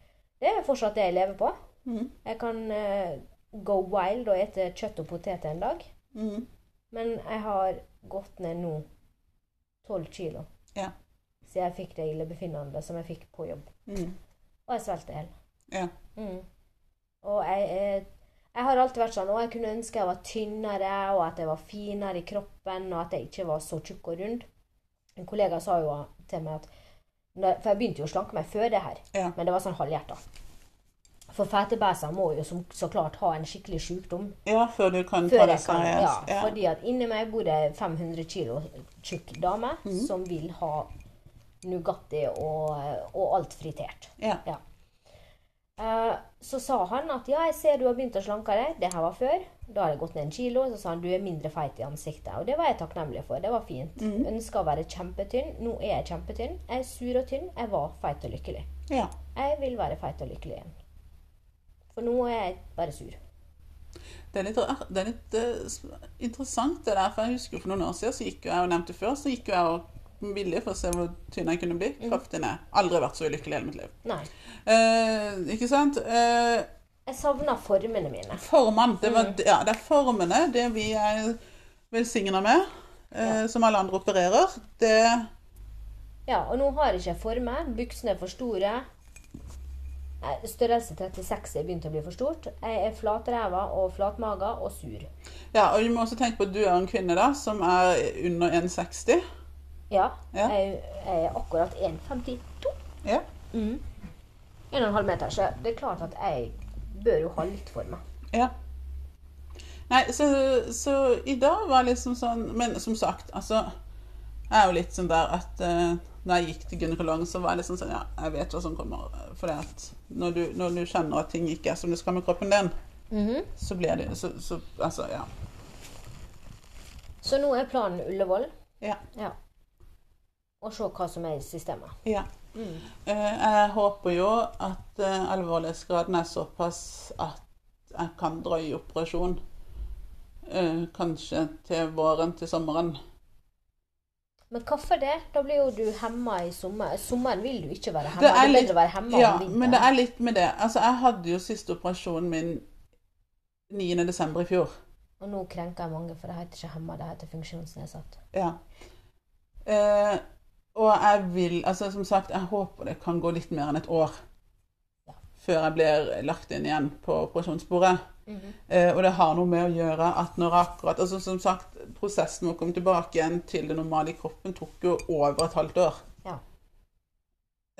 S2: Det er fortsatt det jeg lever på.
S1: Mhm.
S2: Jeg kan eh, go wild og ete kjøtt og poteter en dag.
S1: Mhm.
S2: Men jeg har gått ned nå 12 kilo
S1: Ja.
S2: siden jeg fikk det illebefinnende som jeg fikk på jobb.
S1: Mhm.
S2: Og jeg svelget i hjel.
S1: Ja.
S2: Mm. Og jeg, er- jeg har alltid vært sånn Å, jeg kunne ønske jeg var tynnere, og at jeg var finere i kroppen, og at jeg ikke var så tjukk og rund. En kollega sa jo til meg at når- For jeg begynte jo å slanke meg før det her,
S1: Ja.
S2: men det var sånn halvhjerta. For fetebæser må jo som, så klart ha en skikkelig sykdom
S1: ja, før du kan ta
S2: før
S1: det
S2: jeg kan ja,
S1: seriøst. Ja.
S2: Fordi at inni meg bor det 500 kilo tjukk dame
S1: Mhm.
S2: som vil ha Nugatti og, og alt fritert.
S1: Ja.
S2: Eh, så sa han at ja, jeg ser du har begynt å slanke deg. Det her var før. Da har jeg gått ned en kilo. Så sa han du er mindre feit i ansiktet. Og det var jeg takknemlig for. Det var fint. Ønsket Ønska å være kjempetynn. Nå er jeg kjempetynn. Jeg er sur og tynn. Jeg var feit og lykkelig.
S1: ja.
S2: Jeg vil være feit og lykkelig igjen. For nå er jeg bare sur.
S1: Det er litt, rar- det er litt eh, s- interessant det der, for jeg husker jo for noen år siden, så gikk jo jeg og nevnte før, så gikk jo jeg og villig for å se hvor tynn jeg kunne bli.
S2: Mm.
S1: Kraftig ned. Aldri vært så ulykkelig i hele mitt liv.
S2: Nei.
S1: Eh, ikke sant? Eh,
S2: Jeg savna formene mine.
S1: Formene. Det, var, ja, det er formene, det vi er velsigna med, eh, som alle andre opererer. Det
S2: Ja, og nå har jeg ikke former. Buksene er for store. Nei, Størrelse 36 er begynt å bli for stort. Jeg er flatræva og flatmaga og sur.
S1: Ja, og du må også tenke på at du er jo en kvinne da, som er under 1,60.
S2: Ja,
S1: Ja.
S2: Jeg, jeg er akkurat 1,52.
S1: Ja.
S2: 1,5 meter, så det er klart at jeg bør jo ha litt for meg.
S1: Ja. Nei, så, så i dag var liksom sånn Men som sagt, altså Jeg er jo litt sånn der at eh, når jeg gikk til gynekologen, så var jeg liksom sånn Ja, jeg vet hva som kommer. For at når du, når du kjenner at ting ikke er som det skal med kroppen din, så blir det så, så Altså, ja.
S2: Så nå er planen Ullevål.
S1: Ja.
S2: Ja. Og se hva som er i systemet.
S1: ja. Eh, jeg håper jo at eh, alvorlighetsgraden er såpass at jeg kan drøye operasjon. eh, kanskje til våren, til sommeren.
S2: Men hvorfor det? Da blir jo du hemma i sommer. Sommeren vil du ikke være hemma.
S1: Det
S2: Det
S1: er
S2: er
S1: litt-
S2: bedre å være hemma
S1: Ja,
S2: om vinteren.
S1: men det er litt med det. Altså, jeg hadde jo siste operasjonen min 9. desember i fjor.
S2: Og nå krenker jeg mange, for det heter ikke hemma, det heter funksjonsnedsatt.
S1: Ja. Eh, og jeg vil, altså som sagt, jeg håper det kan gå litt mer enn et år
S2: Ja.
S1: før jeg blir lagt inn igjen på operasjonsbordet.
S2: Mhm.
S1: Eh, og det har noe med å gjøre at når akkurat, altså som sagt, prosessen med å komme tilbake igjen til det normale i kroppen tok jo over et halvt år.
S2: Ja.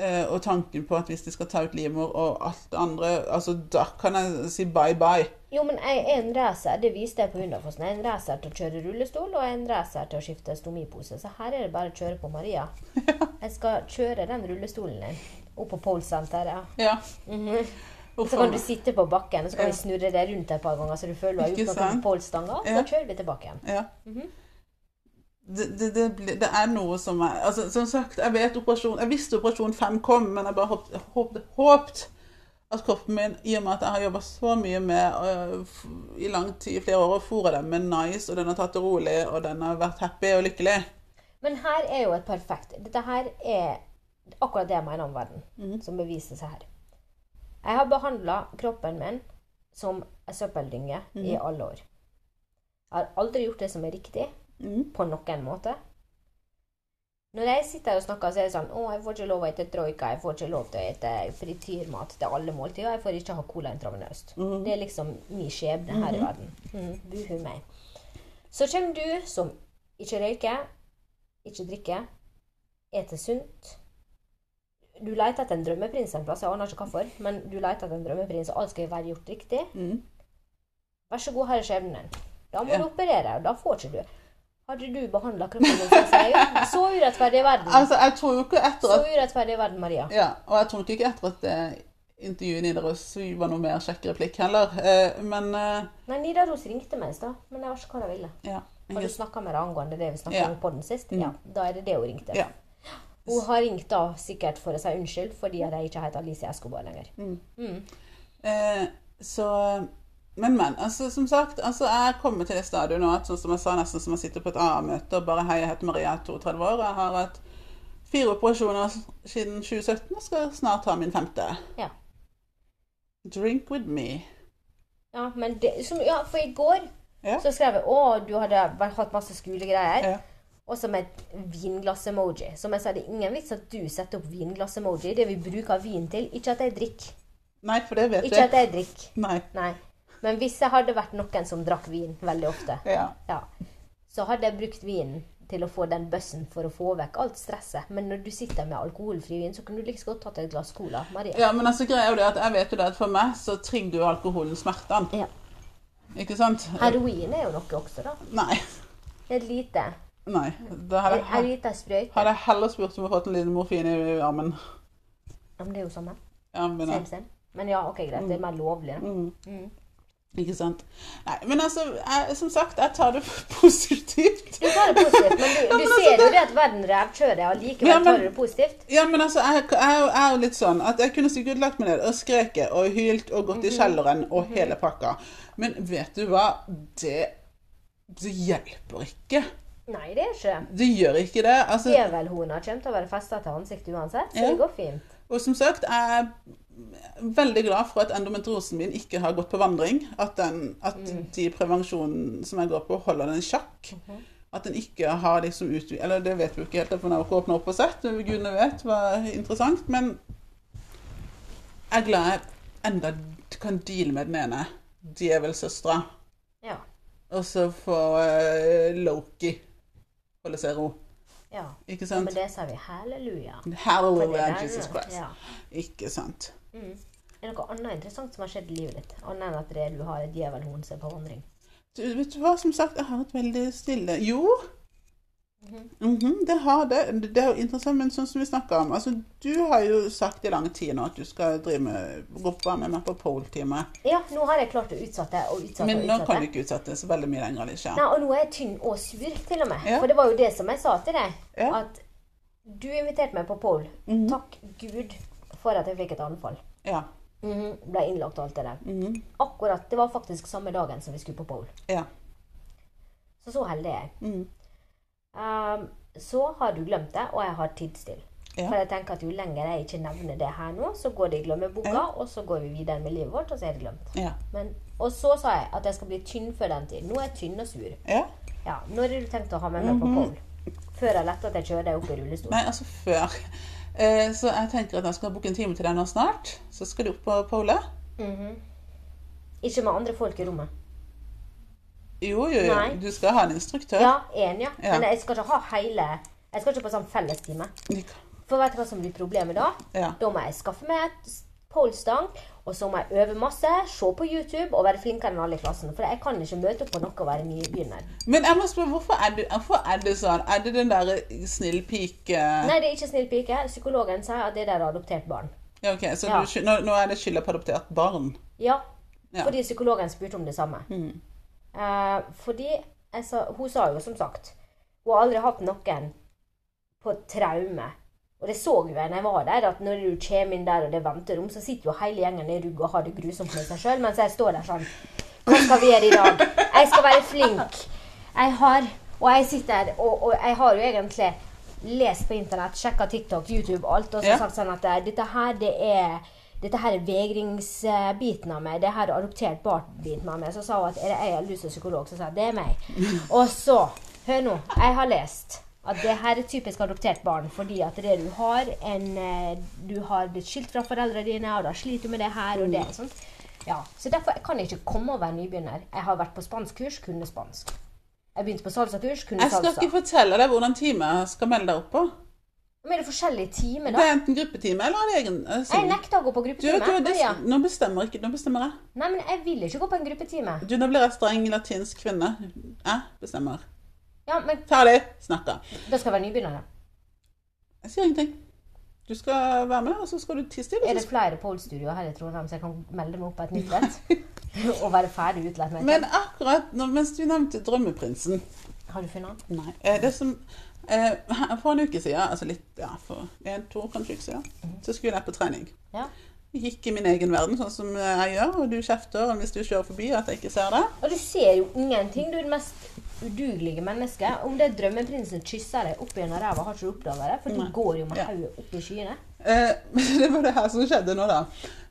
S1: Eh, og tanken på at hvis de skal ta ut livmor og alt det andre, altså da kan jeg si bye bye.
S2: Jo, men jeg er en racer, det viste jeg på Hundafossen. Jeg er en racer til å kjøre rullestol, og jeg er en racer til å skifte stomipose. Så her er det bare å kjøre på
S1: *laughs*
S2: Maria. Jeg skal kjøre den rullestolen din opp på polesenteret.
S1: Ja.
S2: Mhm. Så kan du sitte på bakken, og så kan vi snurre deg rundt et par ganger, så du føler du har
S1: Sånn. Ikke
S2: gjort noe
S1: sant?
S2: med polestanga, og
S1: Ja.
S2: så kjører vi tilbake igjen.
S1: Ja.
S2: Mhm.
S1: det, det, det, blir- det er noe som er altså, Som sagt, jeg vet operasjon Jeg visste operasjon 5 kom, men jeg bare håpte, jeg håpte, håpte at kroppen min, i og med at jeg har jobba så mye med øh, f- i lang tid, i flere år, og fôra den med nice, og den har tatt det rolig, og den har vært happy og lykkelig.
S2: Men her er jo et perfekt Dette her er akkurat det jeg mener om verden, som beviser seg her. Jeg har behandla kroppen min som en søppeldynge i alle år. Jeg har aldri gjort det som er riktig,
S1: Mhm.
S2: på noen måte. Når jeg sitter her og snakker, så er det sånn Å, jeg får ikke lov å ete troika, jeg får ikke lov til å ete frityrmat til alle måltider, jeg får ikke ha cola intravenøst. Det er liksom min skjebne her i verden. Mhm. Buhu meg. Så kommer du som ikke røyker, ikke drikke, ete sunt. Du leter etter en drømmeprins en plass, jeg aner ikke hvorfor, men du leter etter en drømmeprins, og alt skal være gjort riktig.
S1: Mhm.
S2: Vær så god, her er skjebnen din. Da må
S1: Ja.
S2: du operere, og da får ikke du. Hadde du behandla kroppen din sånn som
S1: *laughs*
S2: seg gjør, så urettferdig er verden.
S1: Altså, jeg tror jo ikke etter
S2: Så
S1: at
S2: urettferdig er verden, Maria.
S1: Ja, og jeg tror ikke etter at det intervjuet i Nidaros var noe mer kjekk replikk heller, eh, men eh,
S2: Nei, Nidaros ringte meg i stad, men jeg vet ikke hva de ville.
S1: ja.
S2: Har du snakka med deg angående det vi snakka
S1: Ja. Mm.
S2: om på den sist? Ja. Da er det det hun ringte.
S1: Ja.
S2: Hun har ringt da sikkert for å si unnskyld, fordi at jeg ikke heter Alicia Escobar lenger.
S1: Mm. Eh, så Men, men. Altså, som sagt, altså, jeg kommer til det stadiet nå at sånn som jeg sa, nesten som jeg sitter på et AA-møte og bare Hei, jeg heter Maria, jeg er 32 år. og Jeg har hatt fire operasjoner siden 2017 og skal snart ha min femte.
S2: Ja.
S1: Drink with me.
S2: Ja, men det, som, ja, for i går
S1: Ja.
S2: så skrev jeg å, du hadde vært- hatt masse skolegreier.
S1: Ja.
S2: Og som et vinglass-emoji. Som jeg sa, det er ingen vits at du setter opp vinglass-emoji. Det vi bruker vin til. Ikke at jeg drikker.
S1: Nei, for det vet
S2: Ikke at
S1: jeg.
S2: jeg drikker.
S1: Nei.
S2: Nei. Men hvis jeg hadde vært noen som drakk vin veldig ofte,
S1: Ja.
S2: ja, så hadde jeg brukt vinen til å få den bøssen for å få vekk alt stresset. Men når du sitter med alkoholfri vin, så kunne du like så godt tatt et glass cola. Maria.
S1: ja, men altså greia er jo det at jeg vet jo det at for meg så trigger jo alkoholen smertene.
S2: Ja.
S1: Ikke sant?
S2: Heroin er jo noe også, da.
S1: Nei.
S2: Et lite.
S1: Nei. Da hadde
S2: En
S1: jeg,
S2: liten sprøyte.
S1: hadde jeg heller spurt om å få en liten morfin i armen.
S2: Ja, men det er jo samme.
S1: Ja, Mm. men,
S2: Same, same. Men ja, ok, greit. Det er mer lovlig, da.
S1: Ikke sant? Nei, men altså, jeg, som sagt, jeg tar det *laughs* positivt.
S2: Du tar det positivt, men du, du
S1: altså,
S2: ser jo
S1: det-
S2: det at verden revkjører deg, og likevel
S1: Ja, men-
S2: tar du det positivt.
S1: Ja, men altså, jeg, jeg, er jo- jeg er jo litt sånn at jeg kunne sikkert lagt meg ned og skreket og hylt og gått i kjelleren og hele pakka. Men vet du hva? Det, det hjelper ikke.
S2: Nei, det er ikke.
S1: Det gjør ikke det. Altså,
S2: Djevelhona kommer til å være festa til ansiktet uansett, så
S1: Ja.
S2: det går fint.
S1: Og som sagt, jeg er veldig glad for at endometriosen min ikke har gått på vandring. At, den, at de prevensjonen som jeg går på, holder den i sjakk. At den ikke har liksom utvidet Eller det vet vi jo ikke helt, for den har jo ikke åpna opp og sett. men Gudene vet hva er interessant. Men jeg er glad jeg enda kan deale med den ene djevelsøstera.
S2: Ja.
S1: Og så får eh, Loki holde seg i ro.
S2: ja.
S1: Ikke
S2: Men
S1: sant?
S2: det sier vi halleluja. For det
S1: Hallelujah,
S2: der,
S1: Jesus Christ.
S2: Ja.
S1: Ikke sant?
S2: Mm. Er det noe annet interessant som har skjedd i livet ditt? Annet enn at det, du har et djevelhorn som er på vandring?
S1: Du, vet du hva, som sagt, jeg har et veldig stille Jo. Mhm, det har det. Det er jo interessant, men sånn som vi snakka om altså, Du har jo sagt i lang tid nå at du skal drive med, gå på med meg på pole-time.
S2: Ja, nå har jeg klart å utsette og utsette
S1: Men
S2: og
S1: nå kan du
S2: utsette.
S1: ikke utsette det så veldig mye lenger. Alicia.
S2: Nei, og nå er jeg tynn og sur, til og med.
S1: Ja.
S2: For det var jo det som jeg sa til deg.
S1: Ja.
S2: At du inviterte meg på Pole. Takk Gud for at jeg fikk et anfall.
S1: Mhm. Ja.
S2: Mhm, Ble innlagt og alt det der.
S1: Mhm,
S2: Akkurat, Det var faktisk samme dagen som vi skulle på Pole.
S1: ja.
S2: Så så heldig er jeg.
S1: Mhm,
S2: Ehm, så har du glemt det, og jeg har tid stille.
S1: Ja.
S2: For jeg tenker at jo lenger jeg ikke nevner det her nå, så går det i glemmeboka,
S1: Ja.
S2: og så går vi videre med livet vårt, og så er det glemt.
S1: ja.
S2: Men, og så sa jeg at jeg skal bli tynn før den tid. Nå er jeg tynn og sur.
S1: Ja.
S2: Ja, Når har du tenkt å ha meg
S1: Mhm.
S2: med på pole? Før jeg lette at jeg kjører deg opp i rullestol.
S1: Nei, altså før. Eh, så jeg tenker at jeg skal booke en time til deg nå snart. Så skal du opp på pole.
S2: Mhm. Ikke med andre folk i rommet.
S1: Jo, jo, jo.
S2: Nei.
S1: Du skal ha en instruktør.
S2: Ja, én, ja.
S1: Ja.
S2: Men jeg skal ikke ha hele Jeg skal ikke på sånn fellestime. For vet du hva som blir problemet da?
S1: Ja.
S2: Da må jeg skaffe meg et polestang, og så må jeg øve masse, se på YouTube og være flinkere enn alle i klassen. For jeg kan ikke møte opp på noe og være nybegynner.
S1: Men jeg må spørre, hvorfor er det, hvorfor er det sånn? Er det den der snill pike
S2: Nei, det er ikke snill pike. Psykologen sier at det der er adoptert barn.
S1: Ja, ok, så
S2: Ja.
S1: Du, sky- nå, nå er det skylda på adoptert barn?
S2: Ja,
S1: Ja. Mm.
S2: fordi psykologen spurte om det samme. Eh, fordi jeg sa- hun sa jo som sagt Hun har aldri hatt noen på traume. Og det så jo jeg når jeg var der, at når du kommer inn der og det er venterom, så sitter jo hele gjengen i rugg og har det grusomt med seg sjøl, mens jeg står der sånn Hva skal vi gjøre i dag? Jeg skal være flink. Jeg har Og jeg sitter der, og, og jeg har jo egentlig lest på internett, sjekka TikTok, YouTube, alt, og så
S1: Ja.
S2: sagt sånn at eh, dette her, det er dette her er vegringsbiten av meg. Det her er adoptert barn-biten av meg. Så sa hun at er det jeg har lyst til psykolog, så sa jeg det er
S1: *laughs*
S2: meg. Og så, hør nå, jeg har lest at det her er typisk adoptert barn, fordi at det du har en eh, Du har blitt skilt fra foreldrene dine, og da sliter du med det her og det.
S1: Mm.
S2: Sånn. Ja, så derfor jeg kan jeg ikke komme og være nybegynner. Jeg har vært på spanskkurs, kunne spansk. Jeg begynte på salsakurs, kunne
S1: Jeg skal
S2: salsa.
S1: ikke fortelle deg hvordan time jeg skal melde deg opp på.
S2: Men er det forskjellige timer,
S1: Det
S2: da?
S1: er enten gruppetime eller er det egen eh,
S2: Jeg
S1: singel?
S2: nekter å gå på
S1: Du, vet du,
S2: gruppetime.
S1: hva, det,
S2: Ja.
S1: nå bestemmer ikke, nå bestemmer jeg.
S2: Nei, men jeg vil ikke gå på en gruppetime.
S1: Du, Nå blir jeg streng latinsk kvinne. Jeg bestemmer.
S2: Ja, men
S1: Ferdig snakka.
S2: Da skal jeg være nybegynner, da.
S1: Jeg sier ingenting. Du skal være med, og så skal du tie stille.
S2: Er
S1: og
S2: det
S1: så-
S2: flere Pole-studioer her i Trondheim, så jeg kan melde meg opp på et nytt et?
S1: *laughs*
S2: og være ferdig utlært? med
S1: Men akkurat nå, mens du nevnte Drømmeprinsen
S2: et? Har du funnet den?
S1: Nei. eh, Det som eh, her- For en uke siden, altså litt, ja, for en, to kanskje uker siden, så skulle jeg på trening.
S2: Ja.
S1: Jeg gikk i min egen verden, sånn som jeg gjør, og du kjefter og hvis du kjører forbi at jeg ikke ser det.
S2: Og du ser jo ingenting. Du er det mest udugelige mennesket. Om det er drømmeprinsen kysser deg opp gjennom ræva, har ikke du oppdaga det? For du
S1: Nei.
S2: går jo med
S1: Ja.
S2: hodet opp i skyene.
S1: Eh, *laughs* men det var det her som skjedde nå, da.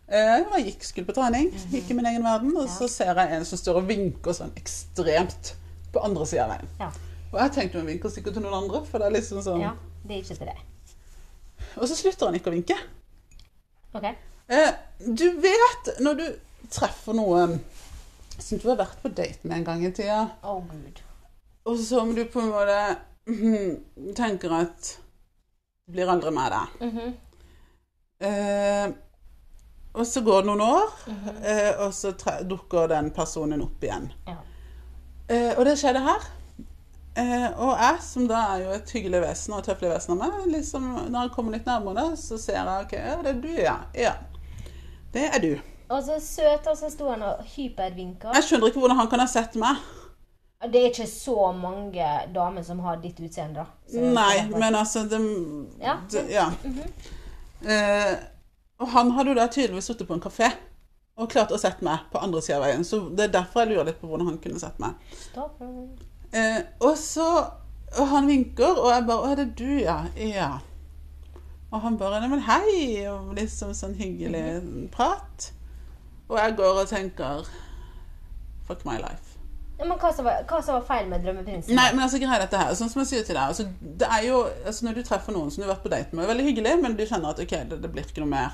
S1: Eh, jeg gikk, skulle på trening, gikk i min egen verden, og så ser jeg en som står og vinker sånn ekstremt på andre sida av veien.
S2: Ja.
S1: Og jeg tenkte hun vinker sikkert til noen andre, for det er liksom sånn
S2: ja. Det er ikke til deg.
S1: Og så slutter han ikke å vinke.
S2: OK?
S1: Eh, du vet når du treffer noen som du har vært på date med en gang i tida,
S2: Å, gud.
S1: og som du på en måte mhm, tenker at det blir aldri med deg.
S2: Mhm.
S1: Eh, og så går det noen år, eh, og så tre dukker den personen opp igjen.
S2: Ja.
S1: Eh, og det skjedde her. Eh, og jeg, som da er jo et hyggelig vesen og tøffelig vesen av meg, liksom, når jeg kommer litt nærmere, så ser jeg ok, ja, det er du, ja. ja. Det er du.
S2: Altså, søt, og så sto han og hypervinka.
S1: Jeg skjønner ikke hvordan han kan ha sett meg.
S2: Det er ikke så mange damer som har ditt utseende, da. Så-
S1: Nei, men altså det,
S2: Ja. Mhm.
S1: det, ja. Eh, og han hadde jo da tydeligvis sittet på en kafé og klart å sett meg på andre sida av veien. Så det er derfor jeg lurer litt på hvordan han kunne sett meg.
S2: Stopp.
S1: Eh, og så og han vinker, og jeg bare 'Å, er det du, ja?' Ja. Og han bare 'Neimen, hei', og liksom sånn
S2: Mhm.
S1: hyggelig prat. Og jeg går og tenker 'Fuck my life'.
S2: Ja, men hva som, var, hva som var feil med Drømmeprinsen?
S1: Nei, men altså greia er dette her, sånn som jeg sier til deg, altså, det er jo, altså når du treffer noen som du har vært på date med, er veldig hyggelig, men du kjenner at ok, det, det blir ikke noe mer.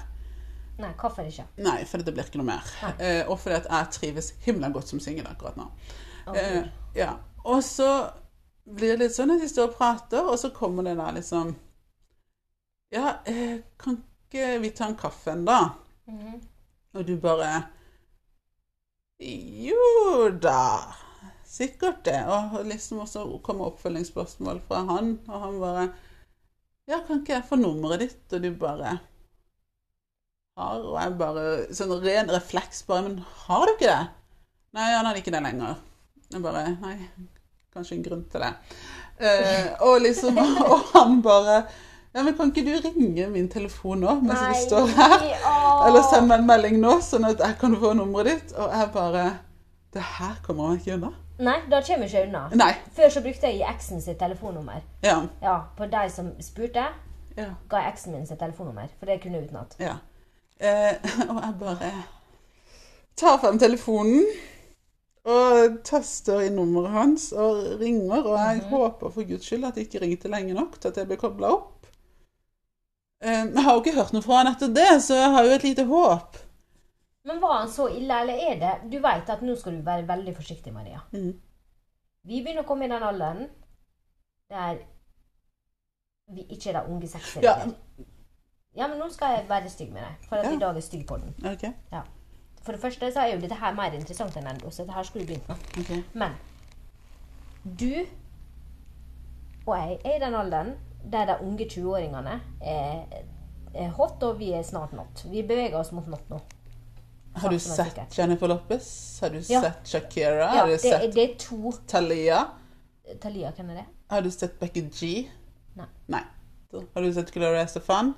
S2: Nei, hvorfor ikke?
S1: Nei, for det blir ikke noe mer. Eh, og fordi at jeg trives himla godt som singel akkurat nå.
S2: Å,
S1: Eh, ja. Og så blir det litt sånn at de står og prater, og så kommer det der liksom Ja, eh, kan ikke vi ta en kaffe en dag?
S2: Mhm.
S1: Og du bare Jo da, sikkert det. Og liksom også kommer oppfølgingsspørsmål fra han, og han bare Ja, kan ikke jeg få nummeret ditt? Og du bare har, Og jeg bare Sånn ren refleks bare Men har du ikke det? Nei, han hadde ikke det lenger. Jeg bare Nei, kanskje en grunn til det. Eh, og liksom *laughs* Og han bare Ja, men kan ikke du ringe min telefon nå, mens vi står her?
S2: åh.
S1: Eller send meg en melding nå, sånn at jeg kan få nummeret ditt. Og jeg bare Det her kommer man ikke unna.
S2: Nei, da kommer jeg ikke unna.
S1: Nei.
S2: Før så brukte jeg eksen sitt telefonnummer.
S1: Ja.
S2: Ja, på de som spurte,
S1: Ja.
S2: ga jeg eksen min sitt telefonnummer. For det kunne jeg utenat.
S1: ja. Eh, *laughs* og jeg bare tar frem telefonen og taster inn nummeret hans og ringer. Og
S2: Mhm.
S1: jeg håper for guds skyld at jeg ikke ringte lenge nok til at jeg ble kobla opp. Eh, jeg har jo ikke hørt noe fra han etter det, så jeg har jo et lite håp.
S2: Men var han så ille, eller er det Du vet at nå skal du være veldig forsiktig, Maria.
S1: Mhm.
S2: Vi begynner å komme i den alderen der vi ikke er de unge sexy
S1: Ja.
S2: lenger. ja, men nå skal jeg være stygg med deg. For at
S1: Ja.
S2: i dag er stygg på den.
S1: Ok,
S2: For det første så er jo dette her mer interessant enn ennå, så dette her skulle du begynt med.
S1: ok.
S2: Men du og jeg er i den alderen der de unge 20-åringene er, er hot, og vi er snart not. Vi beveger oss mot not nå.
S1: Har du
S2: Sakte, men sikkert.
S1: sett Jennifer Lopez? Har du
S2: Ja.
S1: sett Shakira?
S2: Ja,
S1: Har du
S2: det,
S1: sett
S2: er, det er to
S1: Thalia?
S2: Thalia, hvem er det?
S1: Har du sett Becky G?
S2: Nei.
S1: Nei. Har du sett Gloria Estefan?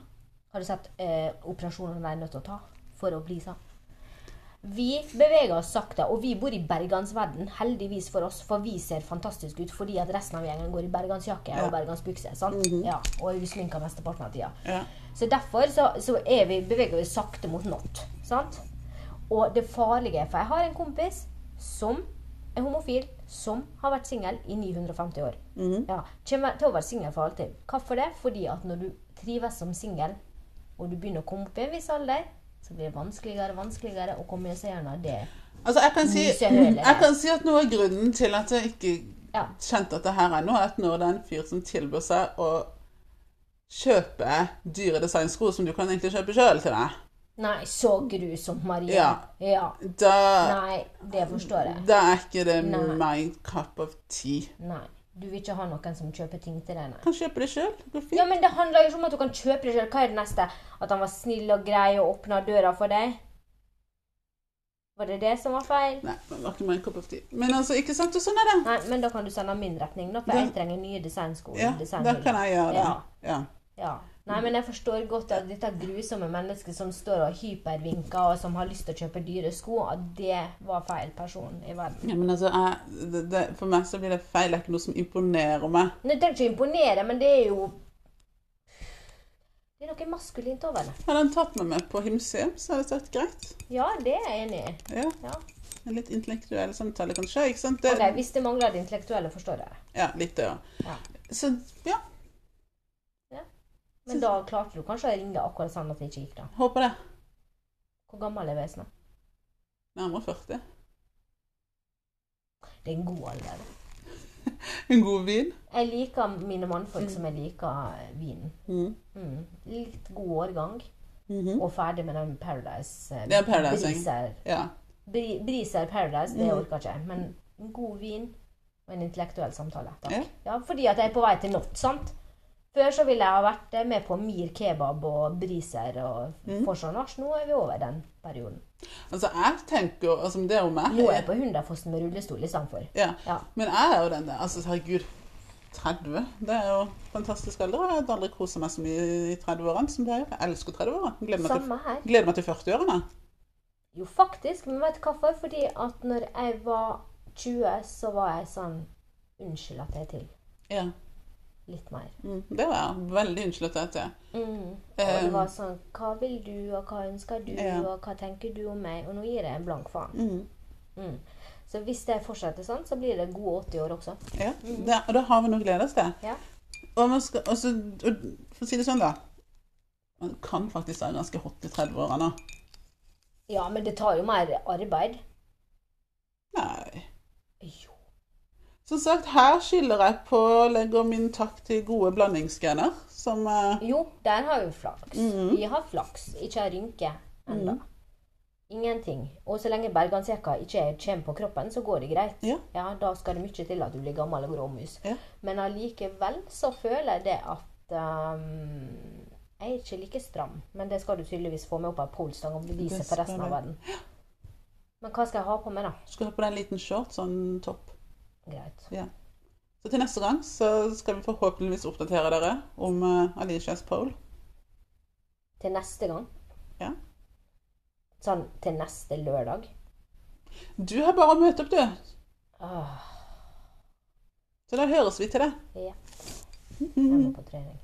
S2: Har du sett eh, operasjonene de er nødt til å ta for å bli sånn? Vi beveger oss sakte, og vi bor i bergansverden, heldigvis for oss, for vi ser fantastisk ut fordi at resten av gjengen går i bergansjakke
S1: Ja. Mhm.
S2: og bergansbukse. sant? ja, og er usminka mesteparten av tida.
S1: Ja.
S2: Så derfor så, så er vi, beveger vi oss sakte mot not. sant? Og det farlige For jeg har en kompis som er homofil, som har vært singel i 950 år. Ja, Kommer til å være singel for alltid. Hvorfor det? Fordi at når du trives som singel, og du begynner å komme opp i en viss alder, så blir det vanskeligere og vanskeligere å komme seg gjennom det.
S1: Altså, jeg kan, si,
S2: Musehølet.
S1: jeg kan si at noe av grunnen til at jeg ikke
S2: Ja.
S1: kjente at det her er noe, er at når det er en fyr som tilbyr seg å kjøpe dyre designsko som du kan egentlig kjøpe sjøl til deg,
S2: Nei, så grusomt, Maria.
S1: Ja.
S2: ja.
S1: da,
S2: Nei, det forstår jeg.
S1: da er ikke det
S2: Nei.
S1: my cup of tea.
S2: Nei. Du vil ikke ha noen som kjøper ting til deg, nei.
S1: Kan kjøpe det sjøl. Det går fint.
S2: Ja, men det handler jo ikke om at du kan kjøpe det selv. Hva er det neste? At han var snill og grei og åpna døra for deg? Var det det som var feil?
S1: Nei, det var ikke my cup of tea. Men altså, ikke sant? Og sånn er det.
S2: Nei, men da kan du sende min retning, da, for
S1: Da-
S2: jeg trenger nye designsko.
S1: Ja, da
S2: designhyller.
S1: kan jeg gjøre det.
S2: Ja.
S1: Ja.
S2: Ja. Nei, men jeg forstår godt at dette grusomme mennesket som står og hypervinker, og som har lyst til å kjøpe dyre sko, at det var feil person i verden.
S1: Ja, men altså, jeg, det, det, for meg så blir det feil. Det er ikke noe som imponerer meg.
S2: Nå trenger ikke å imponere, men det er jo Det er noe maskulint over det.
S1: Hadde han tatt meg med på himseum, så hadde det vært greit.
S2: Ja, det er jeg enig i.
S1: Ja,
S2: Ja.
S1: En litt intellektuell samtale, kanskje. ikke sant? Det,
S2: Ok, Hvis det mangler det intellektuelle, forstår jeg.
S1: Ja, litt det, ja.
S2: Ja.
S1: Så ja,
S2: Men da klarte du kanskje å ringe akkurat sånn at det ikke gikk, da.
S1: håper det.
S2: Hvor gammel er vesenet?
S1: Nærmere 40.
S2: Det er en god alder.
S1: En god vin.
S2: Jeg liker mine mannfolk som jeg liker eh, vinen.
S1: Mm.
S2: Mm. Litt god årgang,
S1: Mhm.
S2: og ferdig med den Paradise. eh,
S1: Ja, Paradise,
S2: Briser,
S1: Ja.
S2: Bri- briser Paradise, det
S1: Mm.
S2: orker ikke jeg. Men en god vin og en intellektuell samtale. Takk.
S1: Ja.
S2: Ja, fordi at jeg er på vei til not, sant? Før så ville jeg ha vært eh, med på Mir kebab og briser og mm. Lars. Nå er vi over den perioden.
S1: Altså, jeg tenker jo altså, Det er jo meg.
S2: Nå er jeg på Hundafossen med rullestol istedenfor.
S1: Ja.
S2: Ja.
S1: Men jeg er jo den der. Altså, herregud. 30. Det er jo fantastisk alder. og Jeg hadde aldri kosa meg så mye i 30-årene som det er. Jeg elsker 30-åra. Gleder, meg til-
S2: Samme her.
S1: gleder meg til 40-årene.
S2: Jo, faktisk. Men vet du hvorfor? Fordi at når jeg var 20, så var jeg sånn Unnskyld at jeg er til.
S1: Ja.
S2: Litt mer.
S1: Mm, det var jeg veldig unnskyldt jeg til.
S2: Mm. Og det
S1: Um,
S2: var sånn Hva vil du, og hva ønsker du,
S1: Ja.
S2: og hva tenker du om meg? Og nå gir jeg en blank faen.
S1: Mm.
S2: Mm. Så hvis det fortsetter sånn, så blir det gode 80 år også.
S1: Ja. Det, og da har vi noe å glede oss til.
S2: Ja.
S1: Og, man skal, og, så, og for å si det sånn, da. Man kan faktisk være ganske hot i 30-årene.
S2: Ja, men det tar jo mer arbeid.
S1: Nei.
S2: Jo.
S1: Som sagt, her skiller jeg på og legger min takk til gode blandingsgener. Som eh,
S2: Jo, der har vi flaks.
S1: Mhm.
S2: Vi har flaks. Ikke har rynke ennå.
S1: Mm.
S2: Ingenting. Og så lenge bergansjakka ikke kommer på kroppen, så går det greit.
S1: Ja.
S2: Da skal det mye til at du blir gammel og gråmus.
S1: Ja.
S2: Men allikevel så føler jeg det at ehm, Jeg er ikke like stram, men det skal du tydeligvis få med opp av polstang og bevise
S1: Det
S2: for resten
S1: skal jeg.
S2: av verden. Men hva skal jeg ha på meg, da?
S1: skal ha på deg en liten short, sånn topp.
S2: Greit.
S1: Så til neste gang så skal vi forhåpentligvis oppdatere dere om eh, Alicias poll.
S2: Til neste gang?
S1: Ja.
S2: Sånn til neste lørdag?
S1: Du har bare møtt opp, du.
S2: Åh.
S1: Så da høres vi til det.
S2: Ja. Jeg må på trening.